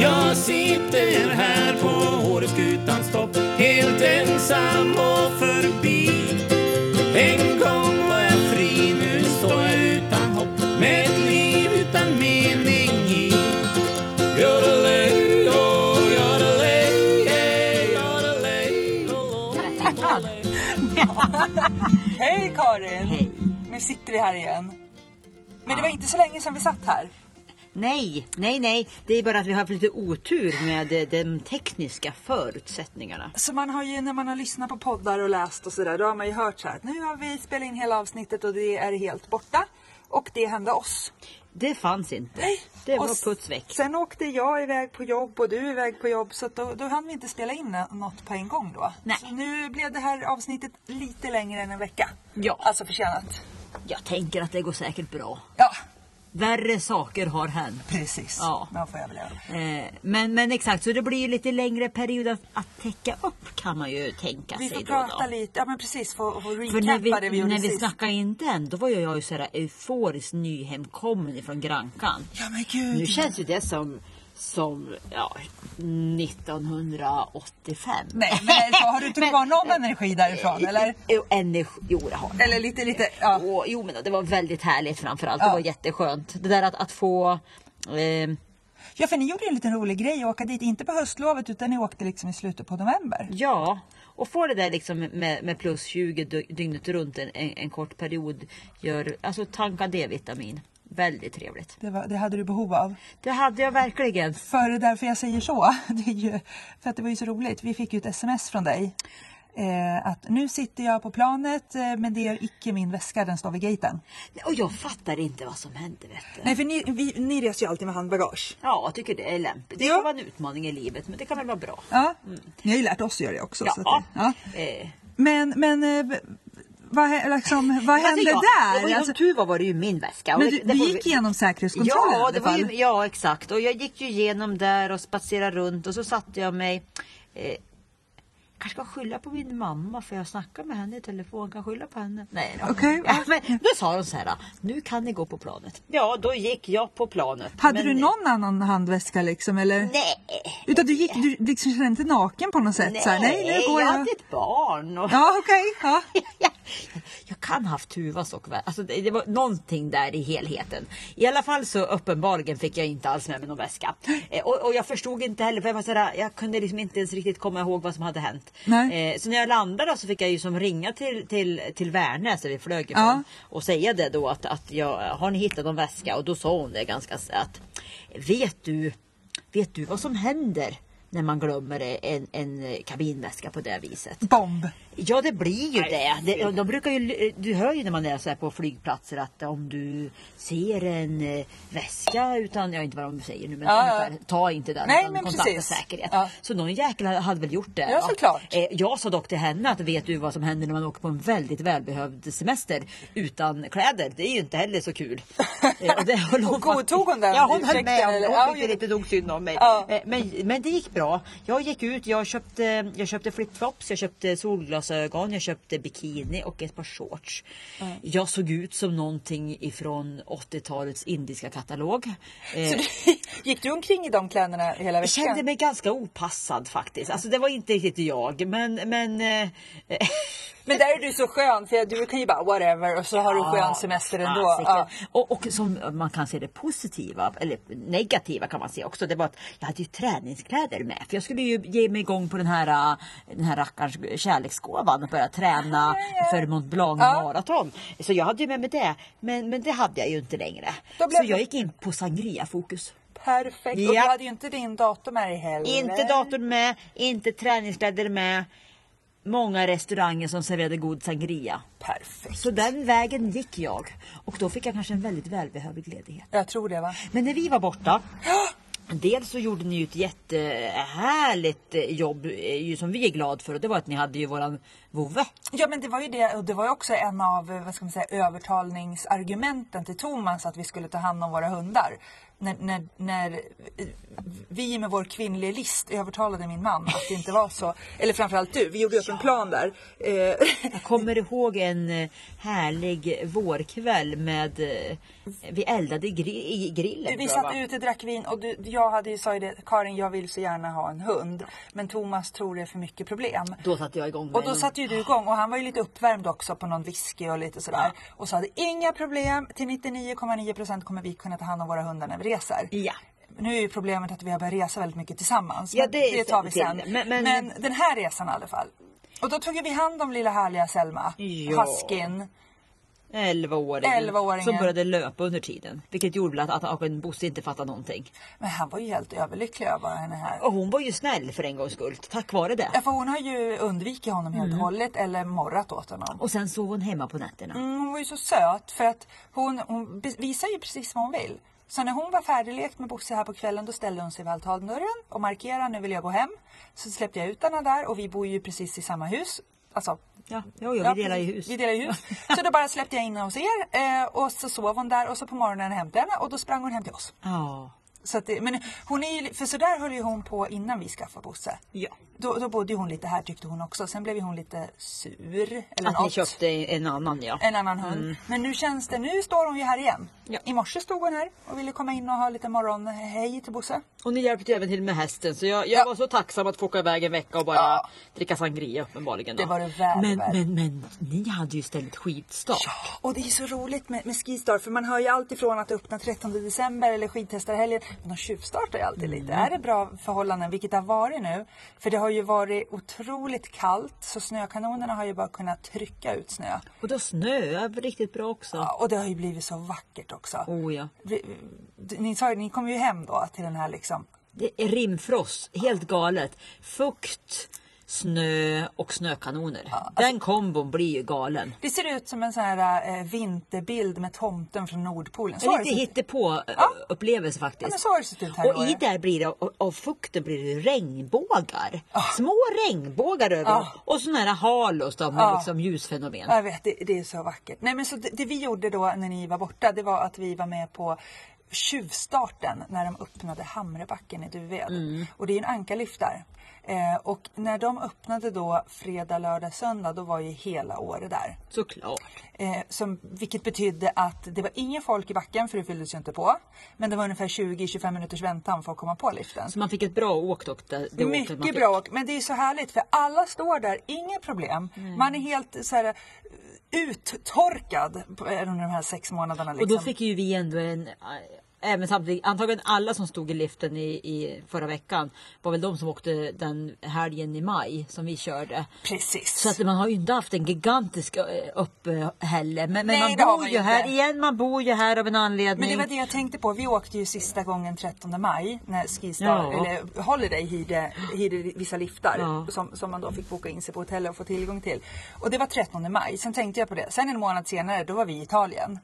Jag sitter här på Åreskutans topp Helt ensam och förbi En gång var jag fri, nu står jag utan hopp Med ett liv utan mening i Yodelay, oh, yodelay, yeah, yodelay, oh, yodelay. Hej Karin! Nu sitter vi här igen. Men det var inte så länge sedan vi satt här. Nej, nej, nej. Det är bara att vi har haft lite otur med eh, de tekniska förutsättningarna. Så man har ju när man har lyssnat på poddar och läst och sådär, då har man ju hört så här att nu har vi spelat in hela avsnittet och det är helt borta. Och det hände oss. Det fanns inte. Det Och var s- puts väck. Sen åkte jag iväg på jobb och du iväg på jobb så att då, då hann vi inte spela in nå- något på en gång då. Nej. Så nu blev det här avsnittet lite längre än en vecka. Ja. Alltså förtjänat. Jag tänker att det går säkert bra. Ja, Värre saker har hänt. precis. Ja. Man får överleva. Eh, Men, men exakt, så det blir ju lite längre period att, att täcka upp kan man ju tänka Vi sig. får då och då. prata lite, ja men precis, få, få Alltså, För när vi, recappa det vi gjorde när vi sist. snackade in den, då var ju jag ju så här euforiskt nyhemkommen från Grankan. Ja men gud. Nu känns ju det som, som ja, 1985. Nej, men så har du inte kvar någon energi därifrån eller? Jo, energi, jo det har jag. Eller lite, lite, ja. Åh, jo, men det var väldigt härligt framförallt. Ja. Det var jätteskönt. Det där att, att få... Eh, Ja, för ni gjorde ju en liten rolig grej och åka dit, inte på höstlovet utan ni åkte liksom i slutet på november. ja, och få det där liksom med, med plus 20 dy- dygnet runt en, en, en kort period. Gör, alltså tanka D-vitamin. Väldigt trevligt. Det, var, det hade du behov av. Det hade jag verkligen. För det är därför jag säger så, det är ju, för att det var ju så roligt. Vi fick ju ett sms från dig. Eh, att nu sitter jag på planet eh, men det gör icke min väska, den står vid gaten. Och jag fattar inte vad som hände vet du. Nej för ni, vi, ni reser ju alltid med handbagage. Ja, jag tycker det är lämpligt. Det Ja. kan vara en utmaning i livet, men det kan väl vara bra. Ja. Ni har ju lärt oss att göra det också. Så att, Mm. ja. Eh, Men, men eh, b- vad, hä- liksom, vad hände alltså, jag, där? Det var, Alltså, Som tur var var det ju min väska. och men det- du, det du får gick vi- igenom säkerhetskontrollen i Ja, alla det var ju, fall. ja, exakt. Och jag gick ju igenom där och spatserade runt och så satte jag mig. Eh, kanske ska skylla på min mamma för jag snackar med henne i telefon. Kan skylla på henne. Nej, då. Okej. ja, men då sa de så här. Nu kan ni gå på planet. Ja, då gick jag på planet. Hade men, du någon annan handväska liksom? Eller? Nej. Utan du, gick, du liksom kände inte naken på något sätt? så här, nej nu går jag. hade ett barn. Och... Ja, okej. Ja. jag, jag kan haft Tuvas och vä- alltså det, det var någonting där i helheten. I alla fall så uppenbarligen fick jag inte alls med mig någon väska. Eh, och, och jag förstod inte heller, för jag, var sådär, jag kunde liksom inte ens riktigt komma ihåg vad som hade hänt. Nej. Eh, så när jag landade så fick jag ju som ringa till, till, till Värnäs där vi flög ifrån Ja. och säga det då att, att jag, har ni hittat någon väska? Och då sa hon det ganska s- att vet du, vet du vad som händer när man glömmer en, en kabinväska på det viset? Bomb. Ja det blir ju det. det de brukar ju, du hör ju när man är så här på flygplatser att om du ser en eh, väska utan, jag vet inte vad de säger nu men Ja, ja. ungefär, ta inte den Nej, utan men kontakta precis. säkerhet. Ja. Så någon jäkel hade- hade väl gjort det. Ja, såklart. Eh, Jag sa dock till henne att vet du vad som händer när man åker på en väldigt välbehövd semester utan kläder? Det är ju inte heller så kul. Eh, och det höll Och godtog hon den Ja hon höll ursäkten, med. eller? Hon Ja, tyckte hon gjorde- lite dog synd om mig. Ja. Eh, Men, men det gick bra. Jag gick ut, jag köpte, jag köpte flipflops, jag köpte solglasögon, jag köpte bikini och ett par shorts. Jag såg ut som någonting ifrån 80-talets indiska katalog. Eh, Gick du omkring i de kläderna hela jag veckan? kände mig ganska opassad faktiskt. Alltså det var inte riktigt jag men, men eh, Men där är du så skön för du kan ju bara whatever och så har du skön semester ändå. fasiken. Ja. Och, och som man kan se det positiva, eller negativa kan man se också, det var att jag hade ju träningskläder med. För jag skulle ju ge mig igång på den här, äh, den här rackarns kärleksgåvan och börja träna för Mont Blanc maraton. Så jag hade ju med mig det, men, men det hade jag ju inte längre. Då blev Så det- jag gick in på sangria-fokus. Perfekt. Och Ja. du hade ju inte din dator med dig heller. Inte datorn med, inte träningskläder med. Många restauranger som serverade god sangria. Perfekt. Så den vägen gick jag och då fick jag kanske en väldigt välbehövlig ledighet. Jag tror det va? Men när vi var borta Dels så gjorde ni ju ett jättehärligt eh, jobb eh, ju som vi är glada för och det var att ni hade ju våran vovve. Ja men det var ju det och det var ju också en av eh, vad ska man säga, övertalningsargumenten till Thomas att vi skulle ta hand om våra hundar. när, när, när eh, vi med vår kvinnliga list övertalade min man att det inte var så. Eller framförallt du, vi gjorde upp en plan där. Eh, Jag kommer ihåg en eh, härlig vårkväll med... eh, Vi eldade i gri- i grillen. vi tror jag, va? satt ute, drack vin och du, jag hade ju sa ju det, Karin jag vill så gärna ha en hund. Men Thomas tror det är för mycket problem. Då satte jag igång med Och då en- satte ju du igång och han var ju lite uppvärmd också på någon whisky och lite sådär. Och sa det inga problem, till 99,9% kommer vi kunna ta hand om våra hundar när vi reser. Ja. Nu är ju problemet att vi har börjat resa väldigt mycket tillsammans. Ja, men det är det tar vi sant. sen. Men- men- den här resan i alla fall. Och då tog ju vi hand om lilla härliga Selma, Ja. huskyn. 11-åringen 11-åringen. som började löpa under tiden. Vilket gjorde att, att, att Bosse inte fattade någonting. Men han var ju helt överlycklig över henne här. Och hon var ju snäll för en gångs skull, tack vare det. Ja, för hon har ju undvikit honom helt Mm. och hållet eller morrat åt honom. Och sen sov hon hemma på nätterna. Mm, hon var ju så söt för att hon, hon be- visar ju precis vad hon vill. Så när hon var färdiglekt med Bosse här på kvällen då ställde hon sig vid altandörren och markerade nu vill jag gå hem. Så släppte jag ut henne där och vi bor ju precis i samma hus. Alltså, Ja, ja, ja, vi delar ju precis. hus. Vi delar ju hus. Så då bara släppte jag in henne hos er eh, och så sov hon där och så på morgonen hämtade jag henne och då sprang hon hem till oss. Ja. Så att det, men hon är ju, för sådär höll ju hon på innan vi skaffade Bosse. Ja. Då, då bodde ju hon lite här tyckte hon också. Sen blev ju hon lite sur. Eller Att ni något Eh. köpte en annan ja. en annan hund. Men nu känns det, nu står hon ju här igen. Ja. I morse stod hon här och ville komma in och ha lite morgonhej till Bosse. Och ni hjälpte även till med hästen så jag, jag var så tacksam att få åka iväg en vecka och bara dricka sangria uppenbarligen. då. Det var det väl men, värt. men, men ni hade ju ställt skitstart. Och det är så roligt med, med Skistar för man hör ju allt ifrån att det öppnar 13 december eller skidtestarhelgen. Men de tjuvstartar ju alltid lite. Är det bra förhållanden, vilket det har varit nu? För det har ju varit otroligt kallt så snökanonerna har ju bara kunnat trycka ut snö. Och då snöade det riktigt bra också. Ja, och det har ju blivit så vackert också. Oh, ja. Vi- Ni, sa, ju- ni kom ju hem då till den här liksom Det är rimfrost, helt galet. Fukt, snö och snökanoner. alltså- Den kombon blir ju galen. Det ser ut som en sån här eh, vinterbild med tomten från Nordpolen. Så En har det lite sett- hittepå-upplevelse Ja, men faktiskt. så har det sett ut här i och i år. där blir det, av- av fukten blir det regnbågar. Ah. Små regnbågar över. Och sådana här halos då Ah. med liksom ljusfenomen. Ja, Jag vet, det, det är så vackert. Nej, men så det, det vi gjorde då när ni var borta, det var att vi var med på tjuvstarten när de öppnade Hamrebacken i Duved. Mm. Och det är en ankarlift där. Eh, och när de öppnade då fredag, lördag, söndag, då var ju hela året där. Såklart. Eh, som, vilket betydde att det var ingen folk i backen för det fylldes ju inte på. Men det var ungefär 20-25 minuters väntan för att komma på liften. Så man fick ett bra åk dock. Det, det åket man Mycket fick. bra åk, men det är så härligt för alla står där, inga problem. Man är helt så här eh, uttorkad på- eh, under de här sex månaderna. Och Liksom. då fick ju vi ändå en äh, Även samtidigt, antagligen alla som stod i liften i, i förra veckan var väl de som åkte den helgen i maj som vi körde. Precis. Så att man har ju inte haft en gigantisk äh, uppehälle. Men, men Nej, det man har bor man ju inte. här igen, man bor ju här av en men anledning. det var det jag tänkte på. Vi åkte ju sista gången 13 maj när Skistar, Ja. eller Holiday hyrde, hyrde vissa liftar Ja. som, som man då fick boka in sig på hotell och få tillgång till. Och det var 13 maj. Sen tänkte jag på det. Sen en månad senare, då var vi i Italien.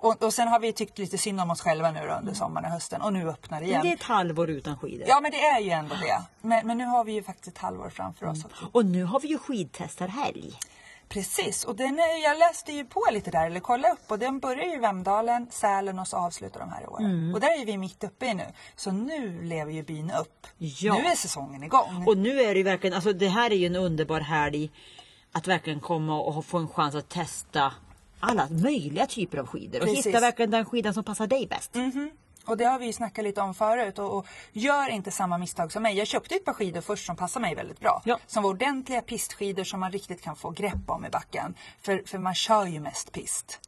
Och, och sen har vi tyckt lite synd om oss själva nu då under sommaren och hösten och nu öppnar det igen. Men det är ett halvår utan skidor. Ja men det är ju ändå det. Men, men nu har vi ju faktiskt ett halvår framför oss. också. Och nu har vi ju skidtestarhelg. Precis och den är, jag läste ju på lite där eller kollade upp och den börjar ju i Vemdalen, Sälen och så avslutar de här i år. Mm. Och där är vi mitt uppe i nu. Så nu lever ju byn upp. Ja. Nu är säsongen igång. Och nu är det ju verkligen, alltså det här är ju en underbar helg. Att verkligen komma och få en chans att testa alla möjliga typer av skidor. Precis. Mm. Och hitta verkligen den skidan som passar dig bäst. Och det har vi ju snackat lite om förut och, och gör inte samma misstag som mig. Jag köpte ett par skidor först som passar mig väldigt bra. Ja. Som var ordentliga pistskidor som man riktigt kan få grepp om i backen. För, för man kör ju mest pist.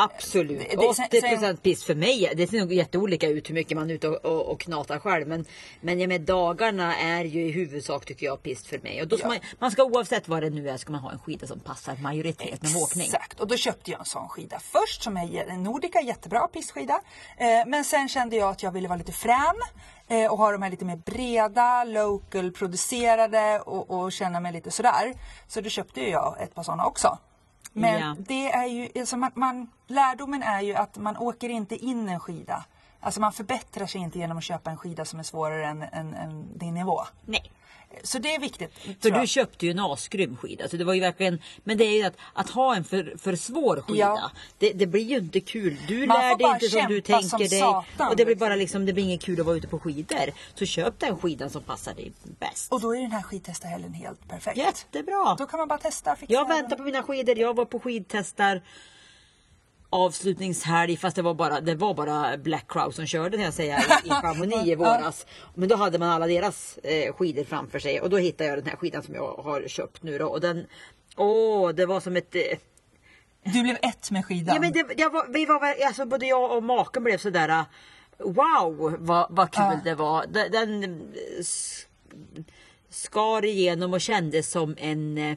Absolut. Det- det- sen- 80 procent piss för mig. Det ser nog jätteolika ut hur mycket man är ute och, och, och knatar själv. Men, men jag med, dagarna är ju i huvudsak tycker jag piss för mig. Och då ska Ja. man, man ska oavsett vad det nu är ska man ha en skida som passar majoriteten av åkning. Exakt, och då köpte jag en sån skida först som är en Nordica, jättebra pistskida. Eh, men sen kände jag att jag ville vara lite frän eh, och ha de här lite mer breda, local producerade och, och känna mig lite sådär. Så då köpte ju jag ett par sådana också. Men Ja. det är ju, alltså man, man, lärdomen är ju att man åker inte in en skida. Alltså man förbättrar sig inte genom att köpa en skida som är svårare än, än, än din nivå. Nej. Så det är viktigt. För tror jag. du köpte ju en asgrym skida. Så det var ju verkligen, men det är ju att, att ha en för, för svår skida. Ja. Det, det blir ju inte kul. Du Man lär får dig bara inte som du kämpa tänker som dig. satan, och det blir liksom. bara liksom, det blir inget kul att vara ute på skidor. Så köp den skidan som passar dig bäst. Och då är den här skidtestarhelgen helt perfekt. Jättebra! Då kan man bara testa. Fixa Jag väntar på mina skidor. Jag var på skidtestar avslutningshelg fast det var bara, det var bara Black Crow som körde när jag säger i Chamonix i våras. Men då hade man alla deras eh, skidor framför sig och då hittade jag den här skidan som jag har köpt nu då och den Åh, det var som ett... eh, Du blev ett med skidan. Ja, men det, jag var, vi var, väl- alltså, både jag och maken blev sådär... eh, Wow, vad, vad kul Ja. det var. Den, den eh, s- skar igenom och kändes som en eh,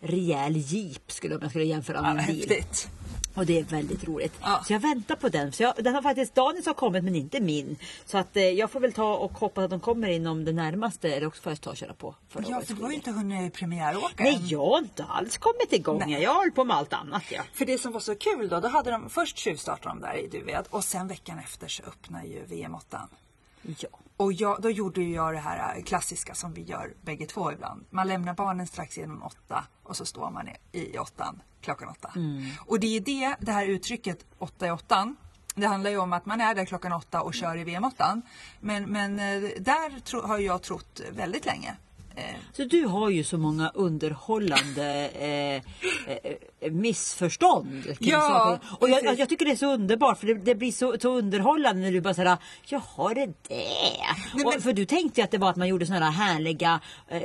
rejäl jeep skulle om jag skulle jämföra med Ja, en bil. häftigt. Och det är väldigt roligt. Ja. Så jag väntar på den. Så jag, den har faktiskt Daniels har kommit men inte min. Så att eh, jag får väl ta och hoppas att de kommer inom det närmaste. Eller också får jag ta och köra på förra Ja, årets för du har skidor. ju inte hunnit premiäråka Nej, än. jag har inte alls kommit igång. Nej. Jag håller på med allt annat. Ja. För det som var så kul då, då hade de först tjuvstartade de där i Duved och sen veckan efter så öppnar ju VM 8 Ja. Och jag, då gjorde ju jag det här eh, klassiska som vi gör bägge två ibland. Man lämnar barnen strax innan åtta och så står man i, i åttan klockan åtta. Mm. Och det är ju det, det här uttrycket åtta i åttan. Det handlar ju om att man är där klockan åtta och kör i VM åttan. Men, men eh, där tro, har jag trott väldigt länge. Eh, Så du har ju så många underhållande eh, eh, eh, missförstånd. Kring Ja, saker. Och jag, precis. jag tycker det är så underbart för det, det blir så, så underhållande när du bara såhär, jaha det där. Och, men- för du tänkte ju att det var att man gjorde sådana här härliga eh,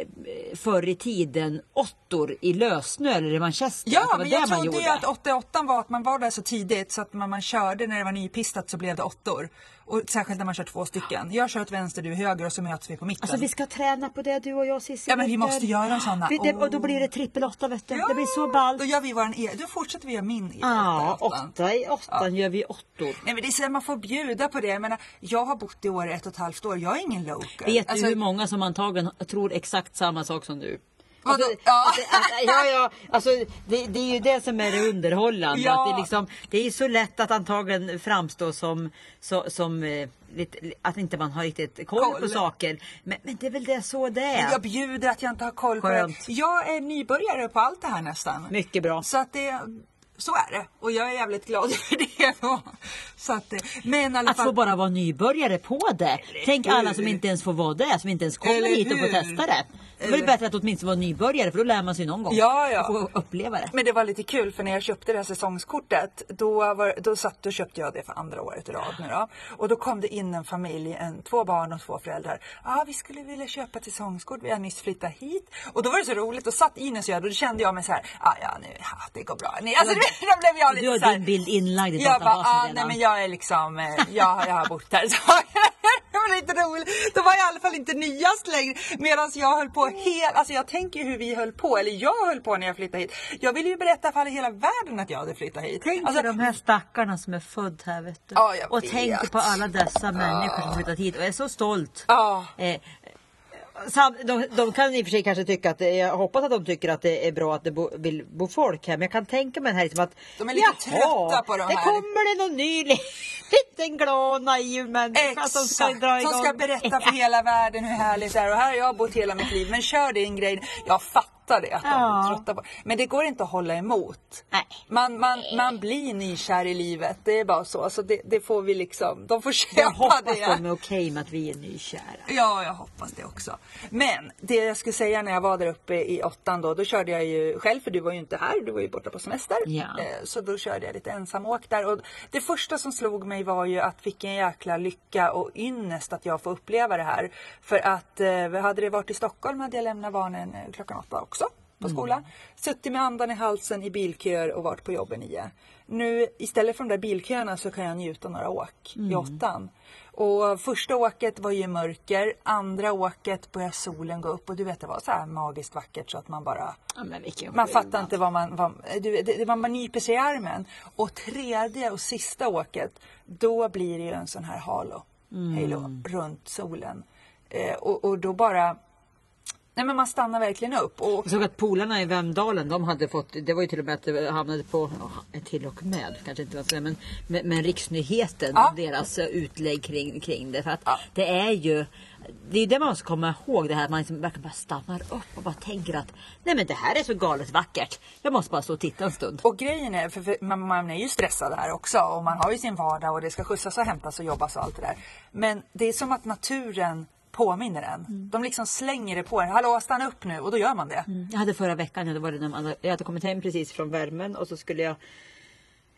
förr i tiden åttor i lössnö eller i Manchester. Att Ja, det var men det jag man trodde ju gjorde. att 88 var att man var där så tidigt så att när man körde när det var nypistat så blev det åttor. Och särskilt när man kör två stycken. Jag kör åt vänster, du höger och så möts vi på mitten. Alltså vi ska träna på det du och jag Cissi. Ja, men vi vet du. måste göra såna. Vi- det- Och då Oh. blir det trippel åtta vet du. Ja, Det blir så ballt. Då, gör vi våran e- då fortsätter vi göra min e- Ja, åttan. åtta i åttan gör vi åttor. Nej men det är så här, man får bjuda på det. Jag, menar, jag har bott i år ett och ett halvt år. Jag är ingen local. Vet Alltså, du hur många som antagligen tror exakt samma sak som du? Vadå? Alltså, Ja. alltså, alltså, ja, ja, alltså, det, det är ju det som är det underhållande. Ja. Att det, är liksom, det är ju så lätt att antagligen framstå som, så, som eh, lite, att inte man har riktigt koll, på Koll. saker. Men, men det är väl det så det är. jag bjuder att jag inte har koll på det. Skönt. Jag är nybörjare på allt det här nästan. Mycket bra. Så att det, så är det. Och jag är jävligt glad över det. då. Så att, det- men i alla Att fall. få bara vara nybörjare på det. Tänk alla som hur? inte ens får vara det, som inte ens kommer Eller hit och får hur? testa det. Det är väl Eller- bättre att åtminstone vara nybörjare för då lär man sig någon gång. Ja, ja. Och få uppleva det. Men det var lite kul för när jag köpte det här säsongskortet då, var, då, satt, då köpte jag det för andra året i rad nu då. Och då kom det in en familj, en, två barn och två föräldrar. ah, vi skulle vilja köpa ett säsongskort, vi har nyss flyttat hit. Och då var det så roligt, då satt Ines och jag, då kände jag mig så här, ah, ja nu, ja, det går bra. Nej, alltså, du vet, då blev jag Du lite så har här, din bild inlagd i jag bara, databasen ah, redan. nej men jag är liksom, eh, jag, jag har bott här. Så det var lite roligt. Det var i alla fall inte nyast längre. Medan jag höll på helt, alltså jag tänker ju hur vi höll på, eller jag höll på när jag flyttade hit. Jag ville ju berätta för alla i hela världen att jag hade flyttat hit. Tänk Alltså, på de här stackarna som är född här vet du. Ja, jag och vet. tänk på alla dessa människor som flyttat hit och är så stolt. Ja. Eh, Sam, de, de kan i och för sig kanske tycka att, jag hoppas att de tycker att det är bra att det bo, vill bo folk här men jag kan tänka mig den här liksom att De är lite jaha, trötta på de det här. kommer det någon ny li- liten glad naiv människa Exakt, som ska dra igång. berätta för hela världen hur härligt det är och här har jag bott hela mitt liv men kör din grej. Jag fattar det att de Ja. är trötta på Men det går inte att hålla emot. Nej. Man, man, man blir nykär i livet, det är bara så. Alltså det, det får vi liksom, de får köpa Jag hoppas det. de är okej med att vi är nykära. Ja, jag hoppas det också. Men det jag skulle säga när jag var där uppe i åttan då, då körde jag ju själv för du var ju inte här, du var ju borta på semester. Ja. Eh, Så då körde jag lite ensamåk där och det första som slog mig var ju att vilken jäkla lycka och ynnest att jag får uppleva det här. För att eh, hade det varit i Stockholm hade jag lämnat barnen eh, klockan åtta också på skolan. Suttit med andan i halsen i bilköer och varit på jobben nio. Nu istället för de där bilköerna så kan jag njuta några åk i åttan. Och första åket var ju i mörker, andra åket började solen gå upp och du vet det var så här magiskt vackert så att man bara Ja, men vilken man skillnad. fattar inte vad man... Vad, du, det, det- man bara nyper sig i armen. Och tredje och sista åket, då blir det ju en sån här halo, halo runt solen. Eh, och, och då bara Nej men man stannar verkligen upp. Och, Jag såg att polarna i Vemdalen, de hade fått, det var ju till och med att det hamnade på, ja, till och med, kanske inte var så, men, men, men riksnyheten, Ja. deras eh, utlägg kring, kring det. För att det är ju, det är det man måste komma ihåg, det här att man liksom verkligen bara stannar upp och bara tänker att nej men det här är så galet vackert. Jag måste bara stå och titta en stund. och grejen är, för, för man, man är ju stressad här också och man har ju sin vardag och det ska skjutsas och hämtas och jobbas och allt det där. Men det är som att naturen påminner en. De liksom slänger det på en. Hallå stanna upp nu och då gör man det. Jag hade förra veckan, ja, då var det när man, jag hade kommit hem precis från värmen och så skulle jag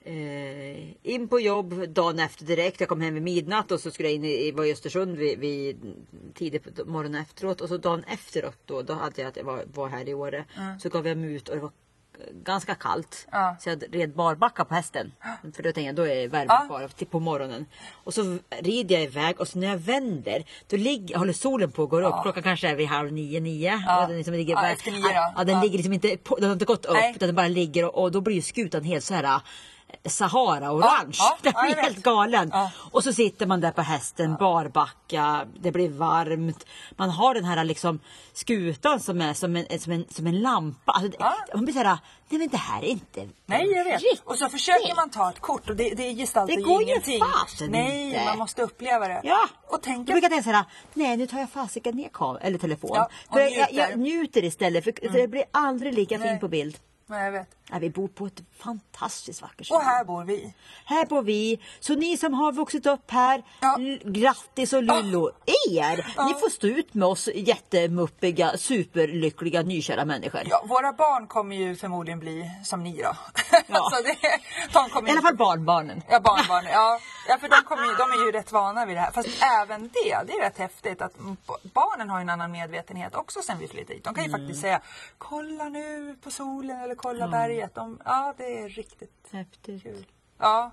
eh, in på jobb dagen efter direkt. Jag kom hem vid midnatt och så skulle jag in i, i var i Östersund vid, vid tidigt på morgonen efteråt. Och så dagen efteråt då, då hade jag att jag var, var här i Åre. Så gav jag mig ut och det var ganska kallt. Ja. Så jag red barbacka på hästen. För då tänkte jag, då är värmen Ja. kvar till på morgonen. Och så rider jag iväg och så när jag vänder då ligger, håller solen på och går upp. Klockan kanske är vid halv nio, nio. Ja. Och den liksom ligger Ja, bara, efter nio då. ja, den Ja. ligger liksom inte, på, den har inte gått upp Nej. utan den bara ligger och, och då blir ju skutan helt så här eh, Sahara-orange. Ja, ja, den ja, jag blir vet. helt galen. Ja. Och så sitter man där på hästen, barbacka, det blir varmt. Man har den här liksom skutan som är som en, som en, som en lampa. Alltså, det- Ja. Man blir så här, nej men det här är inte Nej jag vet. riktigt. Och så försöker man ta ett kort och det, det gestaltar Det går ju ingenting. fasen Nej, inte. man måste uppleva det. Ja, Och tänka jag brukar tänka såhär, nej nu tar jag fasiken ner kameran eller telefon. Ja, och för jag, jag, njuter. Mm. jag njuter istället för, för det blir aldrig lika Nej. fint på bild. Nej, jag vet. Ja, Äh, vi bor på ett fantastiskt vackert Och ställe. här bor vi. Här bor vi. Så ni som har vuxit upp här, Ja. l- grattis och lullo er! Ni får stå ut med oss jättemuppiga, superlyckliga, nykära människor. Ja, våra barn kommer ju förmodligen bli som ni då. Ja. så det, de kommer I alla fall barnbarnen. Ja, barnbarn. Ja, ja för de, kommer ju, de är ju rätt vana vid det här. Fast även det, det är rätt häftigt att m- b- barnen har ju en annan medvetenhet också sen vi flyttade hit. De kan ju Mm. faktiskt säga kolla nu på solen eller kolla berget. De, ja, det är riktigt Häftigt. kul. Ja.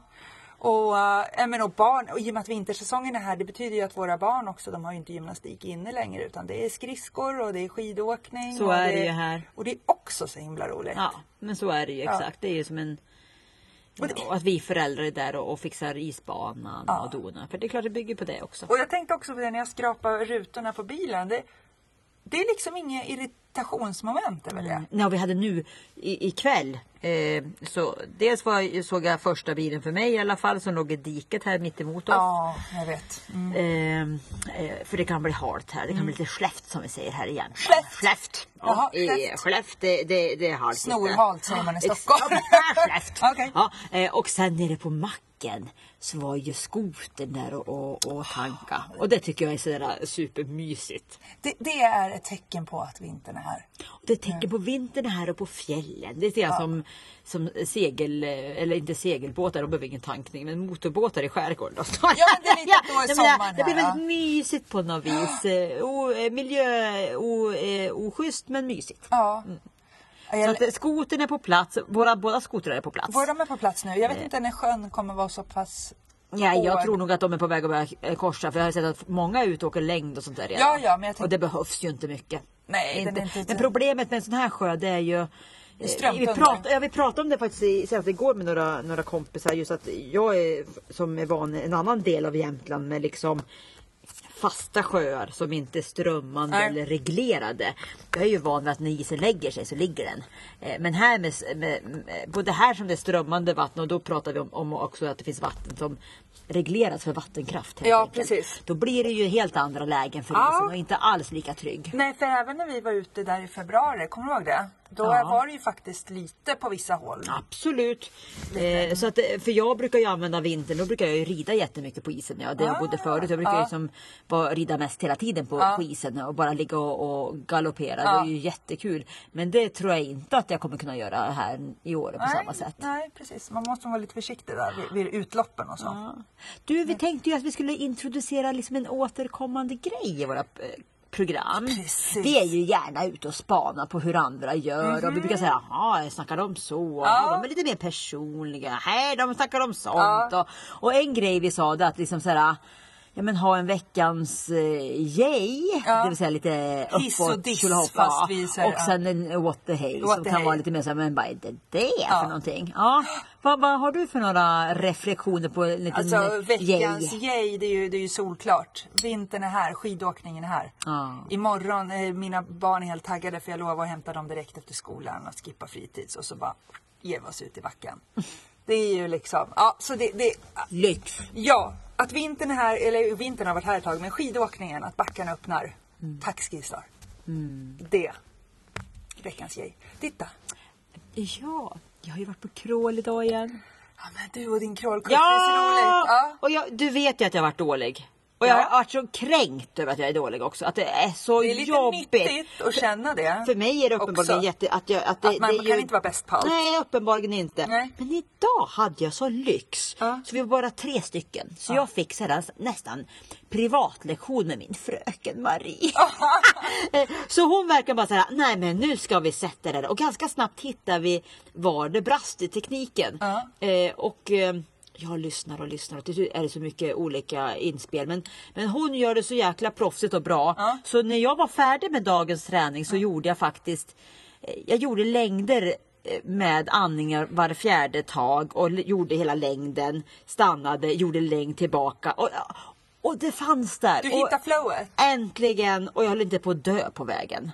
Och, eh, jag menar, och, barn, och i och med att vintersäsongen är här, det betyder ju att våra barn också, de har ju inte gymnastik inne längre utan det är skridskor och det är skidåkning. Så och är det ju här. Och det är också så himla roligt. Ja, men så är det ju Ja. exakt. Det är ju som en... Och det- Och att vi föräldrar är där och, och fixar isbanan och donar. För det är klart det bygger på det också. Och jag tänkte också på det när jag skrapar rutorna på bilen. Det, det är liksom inga irritationsmoment över det. Ja, vi hade nu i- ikväll. Eh, så dels var, jag- såg jag första bilen för mig i alla fall som låg i diket här mitt emot oss. Ja, jag vet. Mm. Ehm, Eh, för det kan bli halt här. Det kan bli lite släft som vi säger här igen. Släft. Släft. Jaha, Ja, eh, släft. släft, det, det, det är halt. lite. Snorhalt säger man i Ex- Stockholm. Ja, släft. Okej. ja, eh, och sen nere på macken så var ju skotern där och, och, och tanka. Och det tycker jag är sådär supermysigt. Det, det är ett tecken på att vintern är här. Det tänker på vintern här och på fjällen. Det ser jag som, som segel, eller inte segelbåtar, de behöver ingen tankning, men motorbåtar i skärgården. Då. Ja, men det är lite att då är Nej, men sommaren Det blir här, väldigt mysigt på något vis. Eh, O, eh, miljö, o, eh, oschysst men mysigt. Ja. Mm. Så Jag, att eh, skotern är på plats, våra båda skotrar är på plats. var de är på plats nu? Jag vet inte när sjön kommer vara så pass... Nej, jag år. tror nog att de är på väg att börja eh, korsa för jag har sett att många är ute och åker längd och sånt där redan. Ja, ja, men jag tänkte- Och det behövs ju inte mycket. Nej, den är inte. inte- typ- Men problemet med en sån här sjö det är ju eh, vi strömtunnor. pratade, ja, vi pratade om det faktiskt i, senast igår med några, några kompisar. Just att jag är, som är van en annan del av Jämtland med liksom fasta sjöar som inte är strömmande Nej. eller reglerade. Jag är ju van vid att när isen lägger sig så ligger den. Eh, Men här med, s- med, med, både här som det är strömmande vatten och då pratar vi om, om också att det finns vatten som regleras för vattenkraft. helt Ja, enkelt. precis. Då blir det ju helt andra lägen för Ja. isen och inte alls lika trygg. Nej, för även när vi var ute där i februari, kommer du ihåg det? Då Ja. var det ju faktiskt lite på vissa håll. Absolut. Eh, så att, eh, för jag brukar ju använda vintern, då brukar jag ju rida jättemycket på isen. Ja, det jag bodde förut. Jag brukar Ah, Ja. Ah. ju liksom bara rida mest hela tiden på, på isen och bara ligga och, och galoppera. Ja. Det är ju jättekul. Men det tror jag inte att jag kommer kunna göra här i år på samma sätt. nej, precis. Man måste vara lite försiktig där vid, vid utloppen och så. Mm. Du, vi tänkte ju att vi skulle introducera liksom en återkommande grej i våra eh, program. Precis. Mhm. Vi är ju gärna ute och spanar på hur andra gör och vi brukar säga jaha, snackar de så? Ja. Ja. De är lite mer personliga. Hej, de snackar om sånt. Och, och en grej vi sa det att liksom så här, ja, men ha en veckans eh, yay, Ja. det vill säga lite Hiss och uppåt, diss, tjolahoppa. fast vi så här, och sen en what the hey What som the kan hey. vara lite mer såhär, men vad är det det Ja. för någonting? Ja. Vad, vad har du för några reflektioner på en liten Alltså veckans yay? yay, det är, ju, det är ju solklart. Vintern är här, skidåkningen är här. Ja. Imorgon, eh, mina barn är helt taggade för jag lovar att hämta dem direkt efter skolan och skippa fritids och så bara ger vi oss ut i backen. Det är ju liksom, ja så det, det Lyx! ja att vintern är här, eller vintern har varit här ett tag, men skidåkningen, att backarna öppnar. Mm. Tack skistar. Det. Veckans yay. Titta! Ja, jag har ju varit på crawl idag igen. Ja men du och din crawlkurs, det är så roligt. Ja! Ja. Och jag, du vet ju att jag har varit dålig. Och jag Ja. har varit så kränkt över att jag är dålig också. Att det är så Det är lite jobbigt. nyttigt att känna det. För mig är det också. uppenbarligen jätte... Att, jag, att, det, Att man det är kan inte vara bäst på allt. Nej, uppenbarligen inte. Nej. Men idag hade jag så lyx. Ja. Så vi var bara tre stycken. Så Ja. jag fick sedan nästan privatlektion med min fröken Marie. Eh, Så hon verkar bara säga, nej men nu ska vi sätta det. där." Och ganska snabbt hittar vi var det brast i tekniken. Ja. Eh, och eh, jag lyssnar och lyssnar och till slut är det så mycket olika inspel. Men, men hon gör det så jäkla proffsigt och bra. Ja. Så när jag var färdig med dagens träning så gjorde jag faktiskt, eh, jag gjorde längder eh, med andningar var fjärde tag och l- gjorde hela längden, stannade, gjorde längd tillbaka. Och, och det fanns där. Du Och- hittar flowet. Äntligen! Och jag höll inte på att dö på vägen.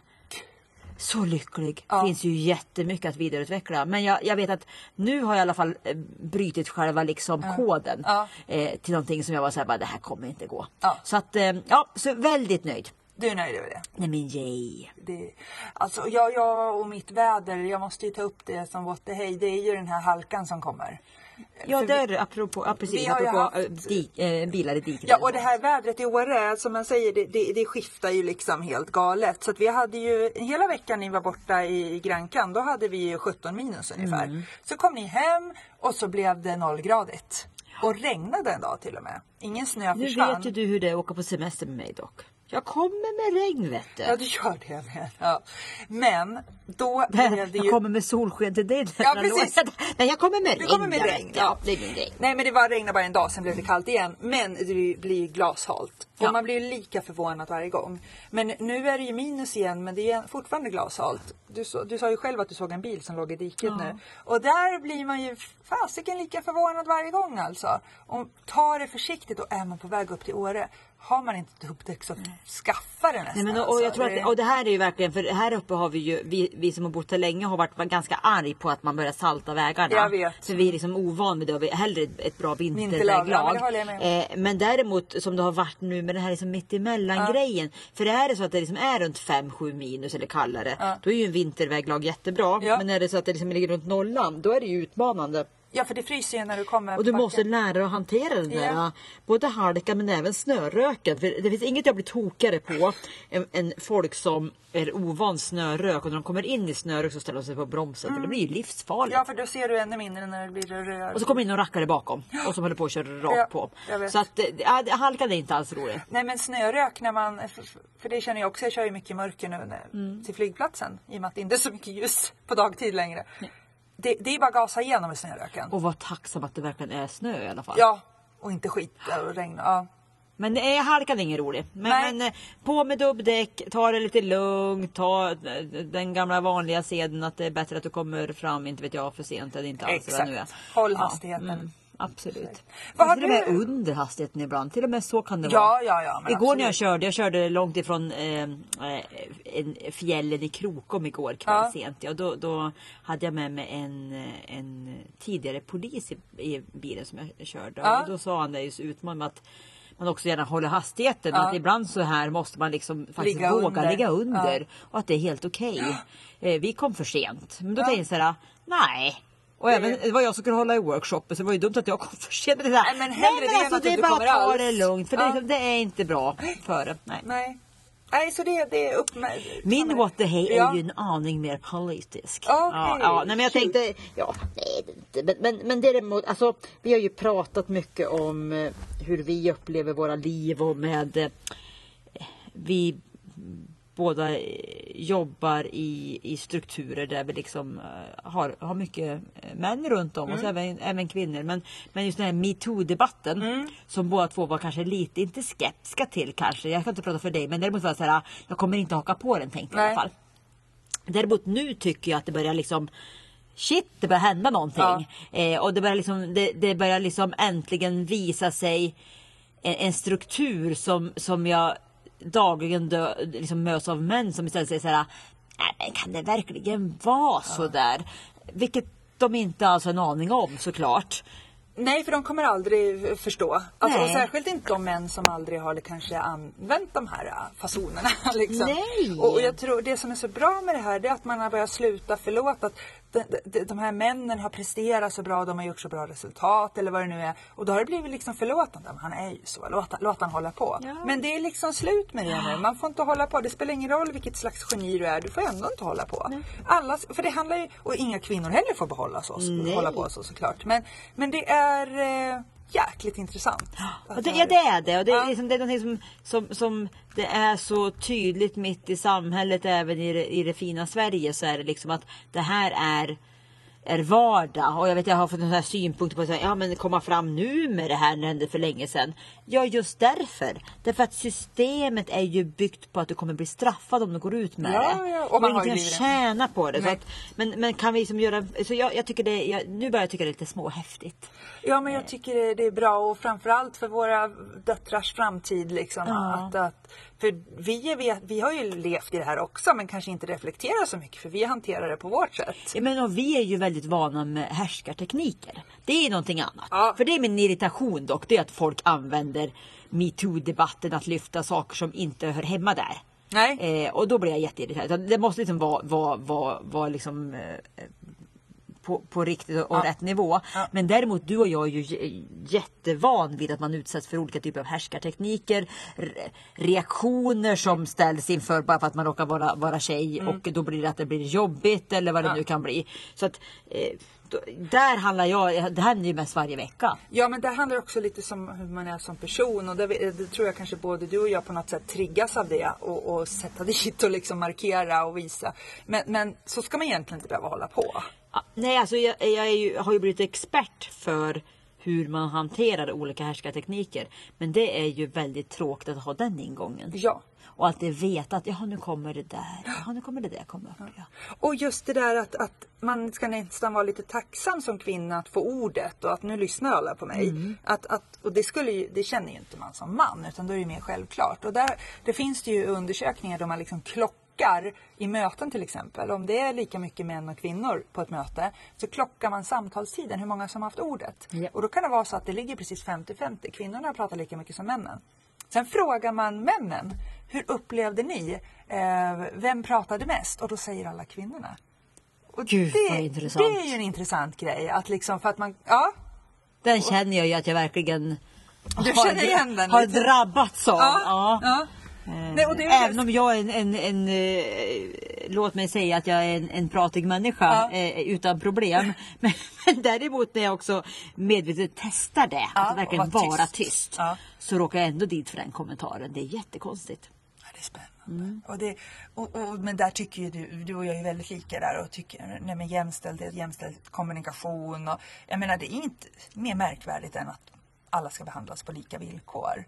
Så lycklig. Ja. finns ju jättemycket att vidareutveckla. Men jag, jag vet att nu har jag i alla fall eh, brutit själva liksom koden. Ja. Eh, till någonting som jag var så här, bara, det här kommer inte gå. Ja. Så att, eh, ja, så väldigt nöjd. Du är nöjd över det? Nej men yay. det alltså jag, jag och mitt väder, jag måste ju ta upp det som what the hey, det är ju den här halkan som kommer. Ja, För Alltså, vi- där apropå, ja, precis, vi har ju apropå haft- eh, dik, eh, bilar i diket. Ja, och det här vädret i Åre, som man säger, det, det, det skiftar ju liksom helt galet. Så att vi hade ju, hela veckan ni var borta i Grankan, då hade vi ju 17 minus ungefär. Mm. Så kom ni hem och så blev det nollgradigt. Och regnade en dag till och med. Ingen snö Nu försvann. vet ju du hur det är att åka på semester med mig dock. Jag kommer med regn vet du. Ja, du gör det. Men, ja. men då blev det Jag ju kommer med solsken till dig. Ja, precis. Nej, jag kommer med regn. Du kommer med jag vet. regn, Ja, ja. det är min grej. Nej men det var regnade bara en dag, sen blev det kallt igen. Men det blir- blir ju glashalt. Och Ja. man blir ju lika förvånad varje gång. Men nu är det ju minus igen men det är fortfarande glashalt. Du, så, du sa ju själv att du såg en bil som låg i diket nu. Och där blir man ju fasiken lika förvånad varje gång alltså. Om tar det försiktigt och är man på väg upp till Åre. Har man inte dubbdäck så skaffa det nästan. Nej, men, och, och alltså. jag tror att, och det här är ju verkligen, för här uppe har vi ju, vi, vi som har bott här länge har varit ganska arg på att man börjar salta vägarna. Jag vet. Så vi är liksom ovan vid det och vi hellre ett- ett bra vinterväglag. Vinterlag, ja, men det håller jag med eh, men däremot som det har varit nu med den här liksom mittemellan grejen. För det här är så att det liksom är runt 5-7 minus eller kallare. Då är ju en vinterväglag jättebra. Ja. Men är det så att det liksom ligger runt nollan, då är det ju utmanande. Ja för det fryser ju när du kommer Och du på måste backen. lära dig att hantera den där, Ja. både halkan men även snöröken. För det finns inget jag blir tokigare på än, än folk som är ovan snörök och när de kommer in i snörök så ställer de sig på bromsen. För det blir ju livsfarligt. Mm. Ja för då ser du ännu mindre när det blir rör. Och så kommer det in någon rackare bakom och som håller på att köra rakt Ja, på. jag vet. Så att eh, ja, det- halkan är inte alls rolig. Nej men snörök när man, f- f- för det känner jag också, jag kör ju mycket i mörker nu när- Mm. till flygplatsen i och med att det inte är så mycket ljus på dagtid längre. Det, det är bara att gasa igenom i snöröken. Och var tacksam att det verkligen är snö i alla fall. Ja, och inte skit och regn. Ja. Men eh, halkan är ingen rolig. Nej. Men, men eh, på med dubbdäck, ta det lite lugnt, ta eh, den gamla vanliga seden att det är bättre att du kommer fram, inte vet jag, för sent än inte alls vad det nu är. mm, Exakt. Håll hastigheten. absolut. Vad har till och med du- under hastigheten ibland, till och med så kan det Ja, vara. ja, ja, men Igår när jag absolut. körde, jag körde långt ifrån eh, eh, en- fjällen i Krokom igår kväll Ja. sent. Ja, då, då hade jag med mig en, eh, en tidigare polis i, i bilen som jag körde. Ja. Och då sa han det just utmaning med att man också gärna håller hastigheten. Och Ja. att ibland så här måste man liksom faktiskt Ligga våga under. ligga under. Och att det är helt okej. Eh, vi kom för sent. Men då tänkte jag så här, nej. Och även, det var jag som skulle hålla i workshopen så det var ju dumt att jag kom för sent. Men det är så här, Nej, men hellre det än att det du är bara kommer att ta alls. det lugnt. För det, är Ja. liksom, det är inte bra för det. Nej. Nej. Nej, så det, det är uppmärksamhet. Min what the hey ja. är ju en aning mer politisk. Okej, Ja, ja, nej, men jag kul. tänkte, ja, nej, det är inte, men, men, men däremot, alltså, vi har ju pratat mycket om eh, hur vi upplever våra liv och med eh, vi båda eh, jobbar i, i strukturer där vi liksom eh, har, har mycket eh, män runt om oss, även, även kvinnor. Men, men just den här metoo-debatten som båda två var kanske lite, inte skeptiska till kanske, jag kan inte prata för dig, men däremot var det så här, "Ah, jag kommer inte haka på den tänkte jag i Nej. alla fall. Däremot nu tycker jag att det börjar liksom Shit, det börjar hända någonting. Eh, och det börjar, liksom, det, det börjar liksom äntligen visa sig en, en struktur som, som jag dagligen dö, liksom möts av män som istället säger så här. "Nej, men Kan det verkligen vara så där? Vilket de inte alls har en aning om såklart. Nej, för de kommer aldrig f- förstå. Alltså, Nej. och särskilt inte de män som aldrig har kanske använt de här äh, fasonerna. Liksom. Nej. Och, och jag tror det som är så bra med det här det är att man har börjat sluta förlåta att de, de, de här männen har presterat så bra, de har gjort så bra resultat eller vad det nu är. Och då har det blivit liksom förlåtande. Men han är ju så, låt, låt han hålla på. Ja. Men det är liksom slut med det nu. Man får inte hålla på. Det spelar ingen roll vilket slags geni du är, du får ändå inte hålla på. Alla, för det handlar ju, och inga kvinnor heller får behålla så, Nej. hålla på så såklart. Men, men det är eh, jäkligt intressant. Och det, ja det är det. Och det, Ja. är liksom, det är någonting som, som, som det är så tydligt mitt i samhället även i det, i det fina Sverige så är det liksom att det här är är vardag och jag vet jag har fått några synpunkter på att ja men komma fram nu med det här när det hände för länge sedan. Ja just därför. Därför att systemet är ju byggt på att du kommer bli straffad om du går ut med Ja, det. ja, och Och, man har ingenting ju blivit det. att tjäna på det. Så Nej. att, men, men kan vi liksom göra, så jag, jag tycker det, jag, nu börjar jag tycka det är lite småhäftigt. Ja men jag tycker det- det är bra och framförallt för våra döttrars framtid. Liksom, att, att, för vi, är, vet- vi har ju levt i det här också men kanske inte reflekterat så mycket för vi hanterar det på vårt sätt. Ja, men och vi är ju väldigt vana med härskartekniker. Det är någonting annat. Ja. För det är min irritation dock, det är att folk använder metoo-debatten att lyfta saker som inte hör hemma där. Nej. Eh, och då blir jag jätteirriterad. Utan Det måste liksom vara, vara, vara, vara liksom, eh, på, på riktigt och och rätt nivå. Men däremot du och jag är ju j- jättevan vid att man utsätts för olika typer av härskartekniker, re- reaktioner som ställs inför bara för att man råkar vara, vara tjej och då blir det att det blir jobbigt eller vad det nu kan bli. Så att eh, då, där handlar jag, det händer ju mest varje vecka. Ja men det handlar också lite om hur man är som person och det, det tror jag kanske både du och jag på något sätt triggas av det och, och sätta dit och liksom markera och visa. Men, men så ska man egentligen inte behöva hålla på. Ja, Nej, alltså jag, jag är ju, har ju blivit expert för hur man hanterar olika härskartekniker. Men det är ju väldigt tråkigt att ha den ingången. Ja. Och att det veta att jaha, nu kommer det där, jaha, nu kommer det där komma upp. Ja. Och just det där att, att man ska nästan vara lite tacksam som kvinna att få ordet och att nu lyssnar alla på mig. Att, att, och det, skulle ju, det känner ju inte man som man utan då är det mer självklart. Och där, det finns det ju undersökningar där man liksom klockar i möten till exempel. Om det är lika mycket män och kvinnor på ett möte så klockar man samtalstiden, hur många som har haft ordet. Ja. Eh, Och då kan det vara så att det ligger precis 50-50, kvinnorna pratar lika mycket som männen. Sen frågar man männen, hur upplevde ni? Eh, vem pratade mest? Och då säger alla kvinnorna. Och Gud, det, vad intressant. det är ju en intressant grej att liksom för att man, ja, Den känner jag ju att jag verkligen Du har, känner igen den har lite. drabbats av. ja, Ja. ja. Eh, Nej, och det är Även om jag är en, en, en eh, låt mig säga att jag är en, en pratig människa Ja. eh, utan problem. Men, men däremot när jag också medvetet testar det, Ja, att verkligen och vara vara tyst. tyst, Ja. så råkar jag ändå dit för den kommentaren. Det är jättekonstigt. Ja, det är spännande. Mm. Och det, och, och, men där tycker ju du, du och jag är väldigt lika där och tycker nej men jämställdhet, jämställd kommunikation och jag menar det är inte mer märkvärdigt än att alla ska behandlas på lika villkor.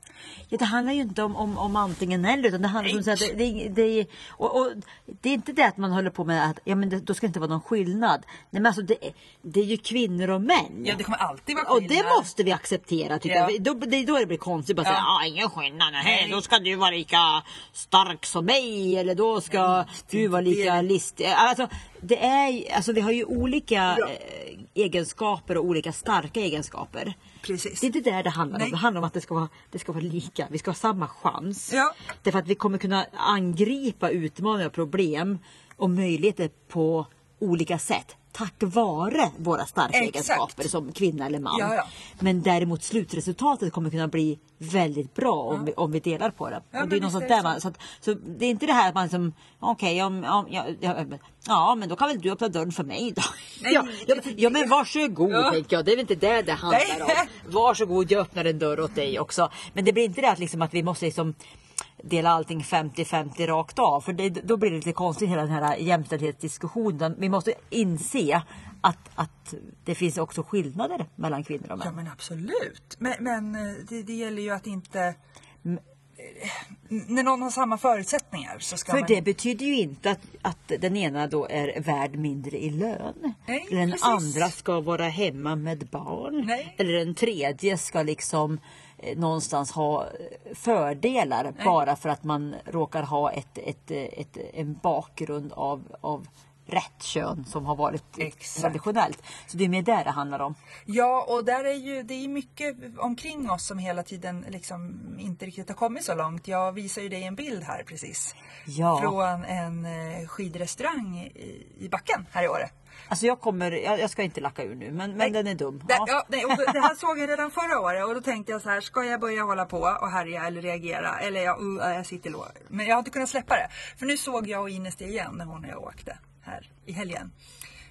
Ja, det handlar ju inte om, om, om antingen eller utan det handlar om så att det, det, det, och, och, det är inte det att man håller på med att ja, men det, då ska det inte vara någon skillnad. Nej, men alltså, det, är- det är ju kvinnor och män. Ja, det kommer alltid vara Och det skillnad. måste vi acceptera tycker Ja. jag. Då, det är då det blir konstigt. Bara Ja. säga, ah, ingen skillnad. Nej, Nej. då ska du vara lika stark som mig. Eller då ska Mm. du vara lika listig. Alltså, det är, ju- alltså, vi har ju olika Ja. eh, egenskaper och olika starka egenskaper. Precis. Det är inte där det handlar Nej. om. Det handlar om att det ska, vara, det ska vara lika. Vi ska ha samma chans. Ja. Därför att vi kommer kunna angripa utmaningar och problem och möjligheter på olika sätt. Tack vare våra starka Exakt. egenskaper som kvinna eller man. Ja, ja. Men däremot slutresultatet kommer kunna bli väldigt bra om, vi, om vi delar på det. Ja, och det men är något visst sånt är det där man, så, att, så det är inte det här att man som okej, om, om, ja, ja, ja, men då kan väl du öppna dörren för mig då. Nej, ja, ja, det- ja, men varsågod Ja. tänker jag. Det är väl inte det det handlar Nej. om. Varsågod, jag öppnar en dörr åt dig också. Men det blir inte det att, liksom, att vi måste liksom dela allting 50-50 rakt av. För det, då blir det lite konstigt hela den här jämställdhetsdiskussionen. Vi måste inse att, att det finns också skillnader mellan kvinnor och Ja män. men absolut. Men, men eh, det, det gäller ju att inte... Eh, När någon har samma förutsättningar så ska För man... det betyder ju inte att, att den ena då är värd mindre i lön. Nej, eller den precis. andra ska vara hemma med barn. Nej. Eller den tredje ska liksom eh, någonstans ha eh, fördelar bara för att man råkar ha ett, ett, eh, ett, en bakgrund av, av rätt kön som har varit Exakt. traditionellt. Så det är mer där det handlar om. Ja, och där är ju, det är mycket omkring oss som hela tiden liksom inte riktigt har kommit så långt. Jag visar ju dig en bild här precis. Ja. Från en eh, skidrestaurang i, i backen här i Åre. Alltså jag kommer, jag, jag ska inte lacka ur nu men, men den är dum. Det, ja, nej, och det här såg jag redan förra året och då tänkte jag så här, ska jag börja hålla på och härja eller reagera? Eller jag, uh, jag sitter låg. Men jag har inte kunnat släppa det. För nu såg jag och Ines det igen när hon och jag åkte här i helgen.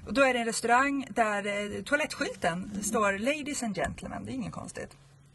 Och då är det en restaurang där eh, toalettskylten står Ladies and Gentlemen, det är inget konstigt.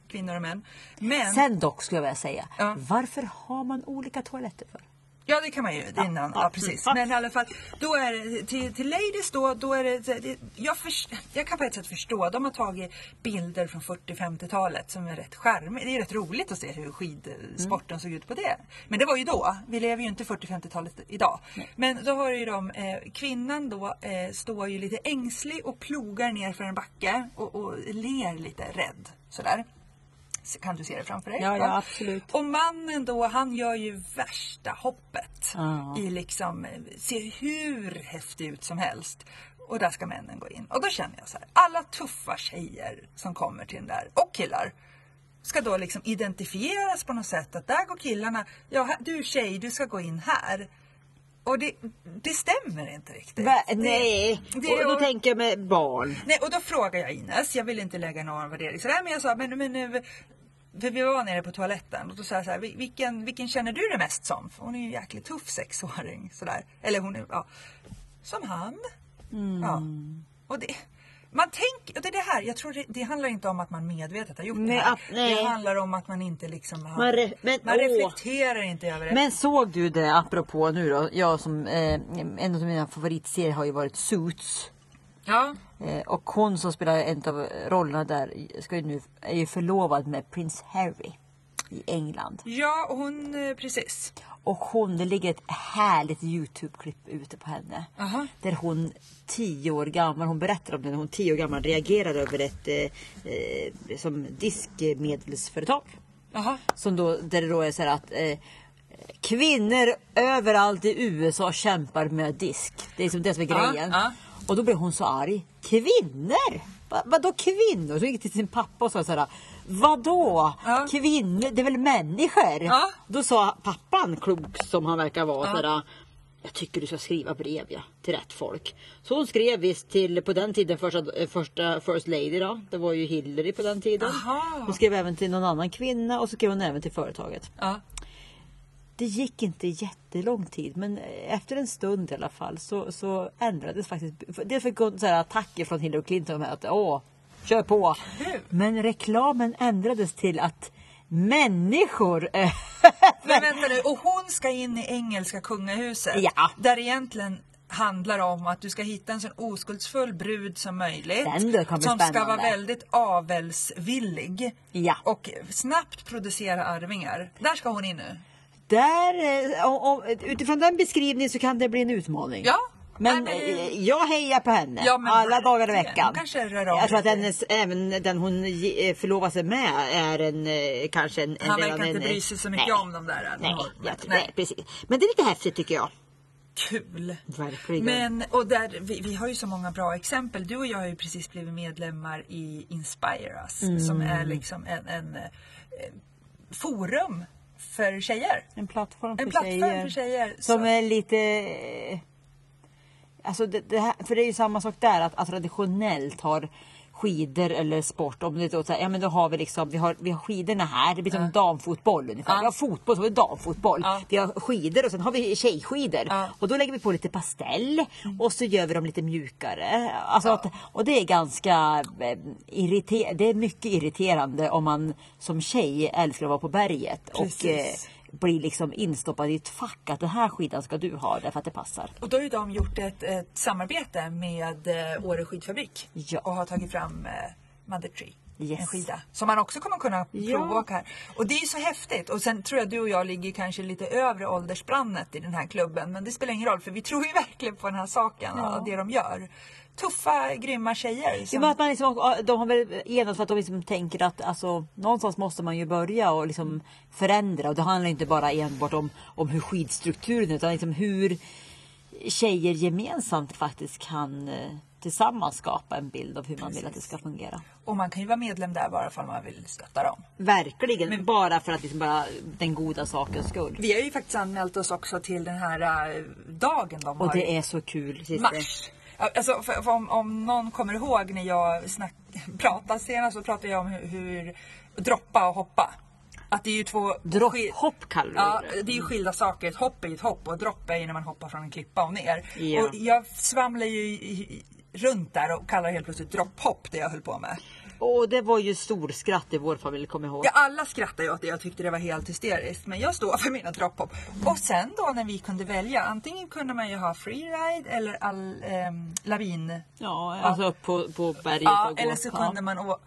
Kvinnor och män. Men, Sen dock skulle jag vilja säga, Ja. varför har man olika toaletter för? ja det kan man ju, det är en annan, ja Mm. precis. Men i alla fall, då är det, till, till Ladies då, då är det, det jag, förs- jag kan på ett sätt förstå, de har tagit bilder från 40-50-talet som är rätt charmig. Det är rätt roligt att se hur skidsporten såg ut på det. Men det var ju då, vi lever ju inte 40-50-talet idag. Men då har ju de, eh, kvinnan då eh, står ju lite ängslig och plogar ner för en backe och, och ler lite rädd sådär. Så Kan du se det framför dig? Ja, ja, absolut. Och mannen då, han gör ju värsta hoppet. Ja. I liksom, eh, ser hur häftig ut som helst. Och där ska männen gå in. Och då känner jag så här, alla tuffa tjejer som kommer till den där, och killar, ska då liksom identifieras på något sätt. Att där går killarna, ja här- du tjej, du ska gå in här. Och det, det stämmer inte riktigt. Va, Det- nej, det- och då tänker jag med barn. Nej, och då frågar jag Ines, jag vill inte lägga någon värdering sådär, men jag sa, men, men nu, för vi var nere på toaletten och då sa jag så här, "Vil- vilken, vilken känner du dig mest som? För hon är ju en jäkligt tuff sexåring sådär. Eller hon är, ja, som han. Mm. Ja. Och det, man tänker, och det är det här, jag tror det, det handlar inte om att man medvetet har gjort Nej, det här. att- nej. Det handlar om att man inte liksom har, Man re- men, man åh. reflekterar inte över det. Men såg du det, apropå nu då, jag som, eh, en av mina favoritserier har ju varit Suits. ja. Eh, och hon som spelar en av rollerna där ska ju nu, är ju förlovad med prins Harry i England. ja, och hon, eh, precis. Och hon, det ligger ett härligt Youtube-klipp ute på henne. Aha. Där hon tio år gammal, hon berättar om det när hon tio år gammal reagerade över ett eh, eh, som diskmedelsföretag. Jaha. Som då, där det då är så här att eh, kvinnor överallt i USA kämpar med disk. Det är liksom det som är Ja, grejen. ja. Och då blev hon så arg. Kvinnor? Va, vadå kvinnor? Så gick till sin pappa och sa så här. Vadå? Ja. Kvinnor? Det är väl människor? Ja. Då sa pappan, klok som han verkar vara, så här, jag tycker du ska skriva brev ja, till rätt folk. Så hon skrev visst till, på den tiden, första, eh, första First Lady då. Det var ju Hillary på den tiden. Aha. Hon skrev även till någon annan kvinna och så skrev hon även till företaget. Ja. Det gick inte jättelång tid men efter en stund i alla fall så, så ändrades faktiskt. Dels fick hon så här attacker från Hillary Clinton med att åh, kör på. Men reklamen ändrades till att människor eh, Men vänta nu, och hon ska in i engelska kungahuset. Ja. Där egentligen handlar om att du ska hitta en så oskuldsfull brud som möjligt. Den du som kommer ska vara spännande. väldigt avelsvillig. Ja. Och snabbt producera arvingar. Där ska hon in nu. Där, eh, om- om- utifrån den beskrivningen så kan det bli en utmaning. Ja. Men Nej, men- eh, jag hejar på henne Ja, men alla dagar i verkligen. veckan. Hon kanske rör av jag tror att lite. hennes, även den hon ge- eh, förlovar sig med är en eh, kanske en... en Han redan verkar inte en, bry sig så mycket nej, om de där. Nej, normerna. jag tror, nej. precis. Men det är lite häftigt tycker jag. Kul! Verkligen. Men, och där, vi, vi har ju så många bra exempel. Du och jag har ju precis blivit medlemmar i Inspire Us som är liksom en, en, eh, forum för tjejer. En plattform, En plattform för tjejer. Som Så- är lite... eh, Alltså det, det här, för det är ju samma sak där att, att traditionellt har skidor eller sport, om det då, så här, ja men då har vi liksom, vi har, vi har skidorna här, det blir som damfotboll ungefär. Ja. Vi har fotboll, så har vi damfotboll. Ja. Vi har skidor och sen har vi tjejskidor. Ja. Mm. Och då lägger vi på lite pastell och så gör vi dem lite mjukare. Alltså att, och det är ganska eh, irriterande, det är mycket irriterande om man som tjej älskar att vara på berget och Precis. eh, blir liksom instoppad i ett fack att den här skidan ska du ha därför att det passar. Och då har ju de gjort ett, ett samarbete med eh, Åre skidfabrik Ja. och har tagit fram eh, Mother Tree. Yes. En skida som man också kommer kunna Ja. provåka här. Och det är ju så häftigt. Och sen tror jag du och jag ligger kanske lite övre åldersbrandet i den här klubben. Men det spelar ingen roll för vi tror ju verkligen på den här saken och det de gör. Tuffa, grymma tjejer. Ja, Som, men att man liksom, de har väl enats för att de liksom tänker att alltså, någonstans måste man ju börja och liksom förändra. Och det handlar inte bara enbart om, om hur skidstrukturen är, utan liksom hur tjejer gemensamt faktiskt kan eh, tillsammans skapa en bild av hur man vill att det ska fungera. och man kan ju vara medlem där bara om man vill stötta dem. Verkligen, bara för att liksom bara den goda sakens skull. Vi har ju faktiskt anmält oss också till den här eh, dagen de Och har. det är så kul. mars. Ja, Alltså, för, för om, om någon kommer ihåg när jag snack, pratade senast så pratade jag om hur, hur droppa och hoppa. Att det är ju två... skil- Dropphopp kallar vi Ja, det. det är ju skilda saker. Ett hopp är ju ett hopp och ett dropp är ju när man hoppar från en klippa och ner. Ja. Och jag svamlar ju i, i, runt där och kallar det helt plötsligt dropphopp det jag höll på med. Och det var ju storskratt i vår familj, kommer jag ihåg. Ja, alla skrattade ju åt det. Jag tyckte det var helt hysteriskt. Men jag står för mina dropphopp. Och sen då när vi kunde välja. Antingen kunde man ju ha freeride eller all, ehm, lavin Ja, alltså upp på, på berget Ja, och gå. eller så Ja. kunde man å...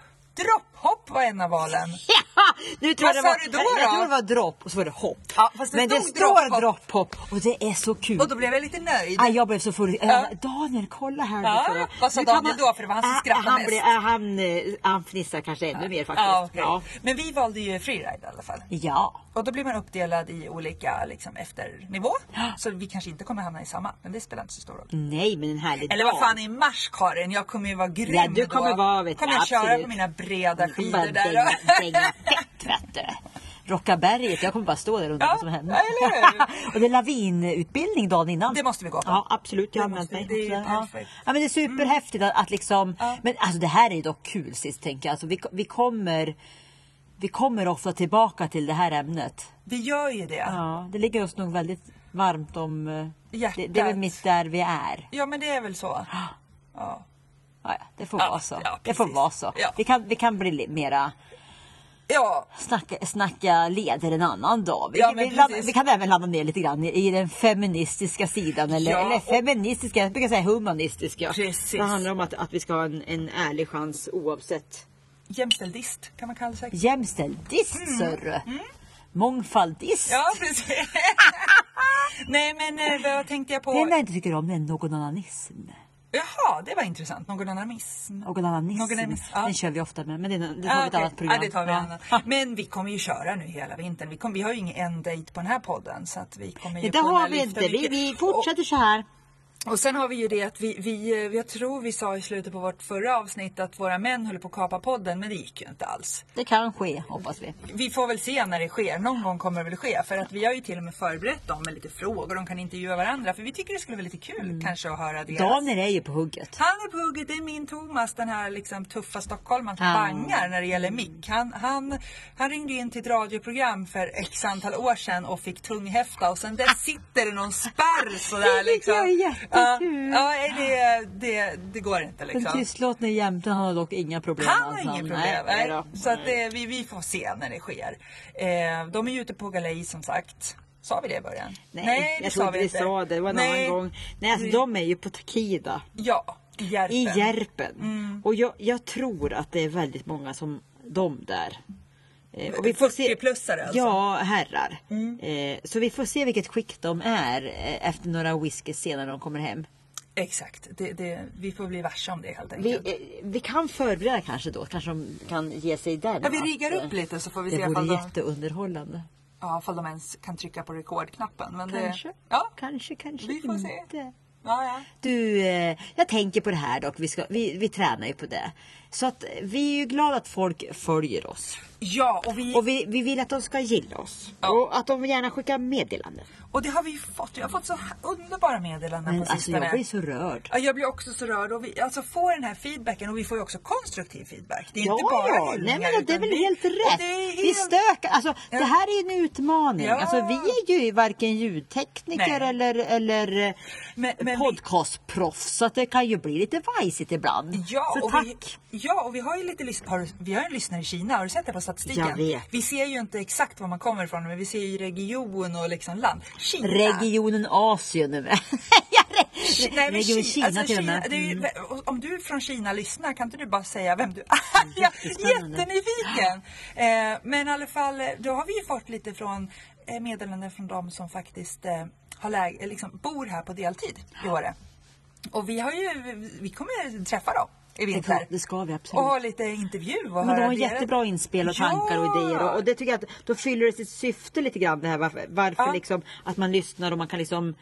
Dropphopp var en av valen. Ja, nu tror Vad jag det sa var, du då, jag, jag då? tror det var dropp och så var det hopp. Ja, fast det Men det stod står dropphopp. dropphopp och det är så kul. Och då blev jag lite nöjd. Ah, jag blev så full. Eh, Ja. Daniel, kolla här Ja, nu. sa jag. vad sa Nu kan Daniel då? För det var han som Ah, skrattade han, mest. blev- ah, han, eh, han fnissade kanske ännu mer faktiskt. Ja, okej. ja. Men vi valde ju freeride i alla fall. ja. Och då blir man uppdelad i olika liksom, efternivå. Så vi kanske inte kommer hamna i samma, men det spelar inte så stor roll. Nej, men en härlig Eller vad dag. fan i mars Karin, jag kommer ju vara grym Ja, du kommer då. vara, vet kommer jag, jag köra absolut. på mina breda Jag kommer bara skidor där. dänga, och- dänga fett vet du. Rocka berget, jag kommer bara stå där och undra Ja, vad som händer. eller och det är lavinutbildning dagen innan. Det måste vi gå på. Ja absolut, jag Det har anmält måste vi- mig. det är ja. perfekt. ja men det är superhäftigt att, att liksom, Ja. men alltså det här är ju dock kul sist tänker jag. Alltså, vi, vi kommer vi kommer ofta tillbaka till det här ämnet. Vi gör ju det. Ja, det ligger oss nog väldigt varmt om... eh, Det, det är Hjärtat. väl mitt där vi är. Ja men det är väl så. Ja. Ja, ja, det får Ja, vara så. ja, det får precis. vara så. Ja. Vi, kan, vi kan bli li- mera ja, snacka, snacka leder en annan dag. Vi, Ja, men vi, landar- precis. vi kan även landa ner lite grann i, i den feministiska sidan. Eller, Ja, eller och- feministiska, jag brukar säga humanistiska. Precis. Det handlar om att, att vi ska ha en, en ärlig chans oavsett. jämställdist kan man kalla sig. Jämställdist sörru! Mångfaldist! Mm. Ja, precis. Nej, men eh, vad tänkte jag på? Det enda jag inte tycker om det är någon annanism. Jaha, det var intressant. Någon animism. Någon annanism. Någon annanism, ja. Den kör vi ofta med, men det, det tar Mm, vi Ah, okej. ett annat program. Ja, det tar vi Ja. annat. Men vi kommer ju köra nu hela vintern. Vi, kommer, vi har ju ingen end date på den här podden. Så att vi kommer ju Det kunna har vi lyfta inte. Vi, mycket. vi fortsätter så här. Och, och sen har vi ju det att vi, vi, eh, jag tror vi sa i slutet på vårt förra avsnitt att våra män höll på att kapa podden, men det gick ju inte alls. Det kan ske, hoppas vi. Vi får väl se när det sker. Någon gång kommer det väl ske. För att vi har ju till och med förberett dem med lite frågor. De kan intervjua varandra. För vi tycker det skulle vara lite kul Mm. kanske att höra deras... Daniel är ju på hugget. Han är på hugget, det är min Thomas, den här liksom tuffa stockholmaren som Ja. bangar när det gäller mick. Han, han, han ringde in till ett radioprogram för x antal år sedan och fick tunghäfta och sen där sitter det någon spärr sådär Det liksom. tycker jag är jättekul. Ja, ja, det, det, det går inte Den liksom. tystlåtne jämten har dock inga problem. Han har alls, inget problem. Nej, Nej, då. Så att det, vi, vi får se när det sker. Eh, de är ju ute på galej som sagt. Sa vi det i början? Nej, jag tror inte vi sa det. Det var en Nej. annan gång. Nej, alltså, Vi- de är ju på Takida. Ja, i Järpen. I Järpen. Och jag, jag tror att det är väldigt många som de där. Eh, och vi får se. 40-plussare alltså? Ja, herrar. Eh, så vi får se vilket skick de är eh, efter några whisky senare när de kommer hem. Exakt, det, det, vi får bli varse om det helt Vi, enkelt. eh, vi kan förbereda kanske då. Kanske de kan ge sig där. ja, nu, vi att, riggar eh, upp lite så får vi se Det ifall vore de, jätteunderhållande. ja, ifall de ens kan trycka på rekordknappen. Men Kanske, Det, eh, ja, kanske, kanske vi får se. inte. Ja, ja. Du, eh, jag tänker på det här dock. Vi, ska, vi, vi tränar ju på det. Så att eh, vi är ju glada att folk följer oss. ja och, vi, Och vi, vi vill att de ska gilla oss. Ja. Och att de gärna skickar meddelanden. och det har vi ju fått. Jag har fått så här underbara meddelanden Men på alltså sistone. jag blir så rörd. Ja, jag blir också så rörd och vi alltså, får den här feedbacken och vi får ju också konstruktiv feedback. Det är Ja, inte bara ja. Nej, hyllningar, men det är utan väl vi- helt och rätt. Det är Vi helt- stökar. Alltså, Ja. Det här är en utmaning. Ja. Alltså, vi är ju varken ljudtekniker Nej. eller, eller eh, Men- men vi- podcastproffs. Så att det kan ju bli lite vajsigt ibland. Ja, så och tack. Vi, Ja, och vi har ju lite lys- har, du- vi har en lyssnare i Kina. Har du sett det på statistiken? Jag vet. Vi ser ju inte exakt var man kommer ifrån, men vi ser ju region och liksom land. Kina. Regionen Asien nu med. Ki- Nej, men Region Ki- Kina till och Kina, med. det är ju- Mm. och Om du från Kina lyssnar kan inte du bara säga vem du är? Jag är jättespännande. jättenyfiken! Eh, men i alla fall, eh, då har vi ju fått lite från eh, meddelanden från de som faktiskt eh, har läge, eh, liksom, bor här på deltid i Åre. Och vi, har ju, vi kommer träffa dem i vinter. Det ska vi absolut. Och ha lite intervju och Men de höra har deras- jättebra inspel och Ja! tankar och idéer och, och det tycker jag att då fyller det sitt syfte lite grann det här varför, varför Ja. liksom att man lyssnar och man kan liksom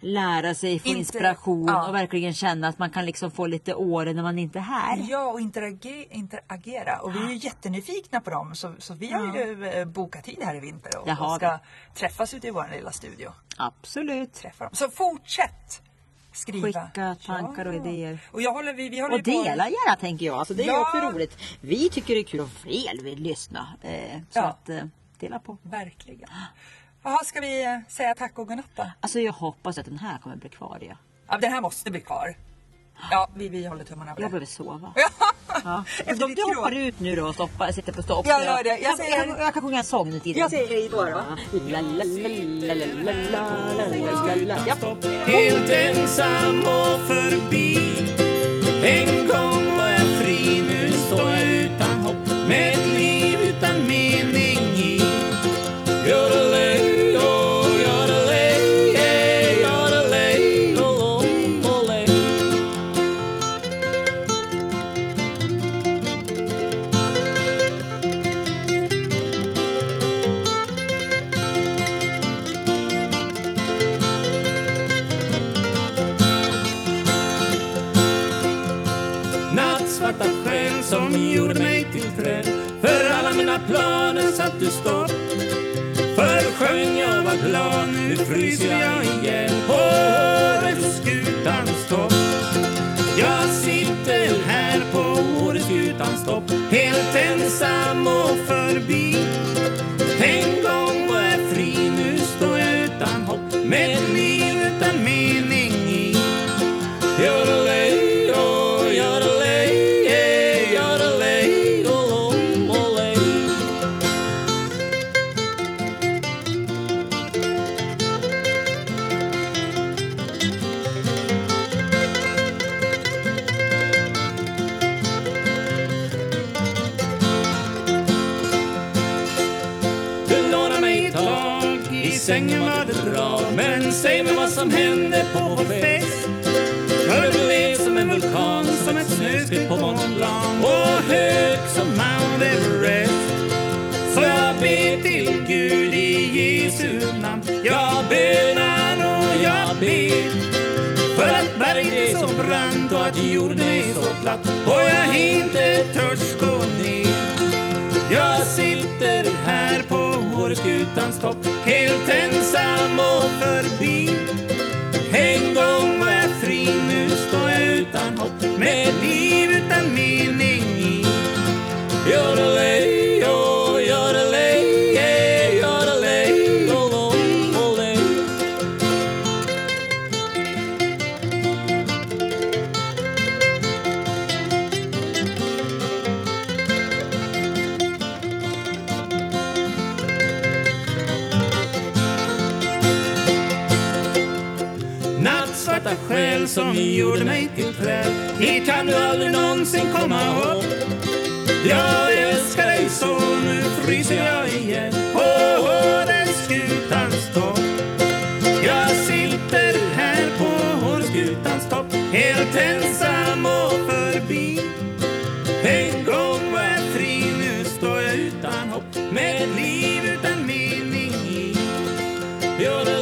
lära sig, få Inte- inspiration ja. och verkligen känna att man kan liksom få lite år när man inte är här. Ja, och interage, interagera. Och vi är ju jättenyfikna på dem så, så vi har ju eh, bokat tid här i vinter och, Det har och ska träffas ute i vår lilla studio. Absolut. Träffa dem. Så fortsätt skriva. Skicka tankar och idéer. Och jag håller, vi, vi håller Och ju på- dela gärna tänker jag. Alltså, det är ju Ja. också roligt. Vi tycker det är kul att fel vill lyssna. Eh, så Ja. att eh, dela på. Verkligen. Jaha, ska vi eh, säga tack och godnatt då? Alltså jag hoppas att den här kommer bli kvar. Ja. Ja, den här måste bli kvar. Ja, vi, vi håller tummarna på Jag det. behöver sova. Ja. Ja. Efter De, ditt de hoppar kråk. ut nu då och stoppar, sitter på stopp. Jag gör det. Jag Jag, säger- jag, jag, kan sjunga en sång nu tidigt. Jag säger hej då då. La, la, la, la, la, la, la, la, la, la. Ja. Helt ensam och förbi En gång var jag fri, nu står jag utan hopp Med ett liv utan mening i Yodelay, oh, yodelay, yeah, yodelay, oh, oh, olay. Nattsvarta sken som gjorde mig till träd För alla mina planer satt du stopp Förr sjöng jag var glad, nu fryser jag igen På Åreskutans topp Jag sitter här på Åreskutans topp Helt ensam och förbi En gång var jag fri, nu står jag utan hopp Med ett liv utan mening i Yodelay, oh, yodelay, yeah, yodelay, oh, oh, olay. Du lånar mig ett tag, i sängen var det bra Men säg mig vad som hände på vår fest För du blev som en vulkan, som ett snöskred på Mont Blanc Och hög som Mount Everest Så jag ber till Gud i Jesu namn Jag bönar och jag ber för att berget är så brant och att jorden är så platt och jag inte törs gå ner jag sitter här på Åreskutans topp Helt ensam och förbi En gång var jag fri, nu står jag utan hopp Med ett liv utan mening i Yodelay, oh, yodelay, yeah, yodelay, oh, oh, olay. Nattsvarta själ som gjorde mig till träd Hit kan du aldrig någonsin komma upp Jag älskar dig så, nu fryser jag igen På Åreskutans topp Jag sitter här på Åreskutans topp Helt ensam och förbi En gång var jag fri, nu står jag utan hopp Med ett liv utan mening i You're the oh, oh,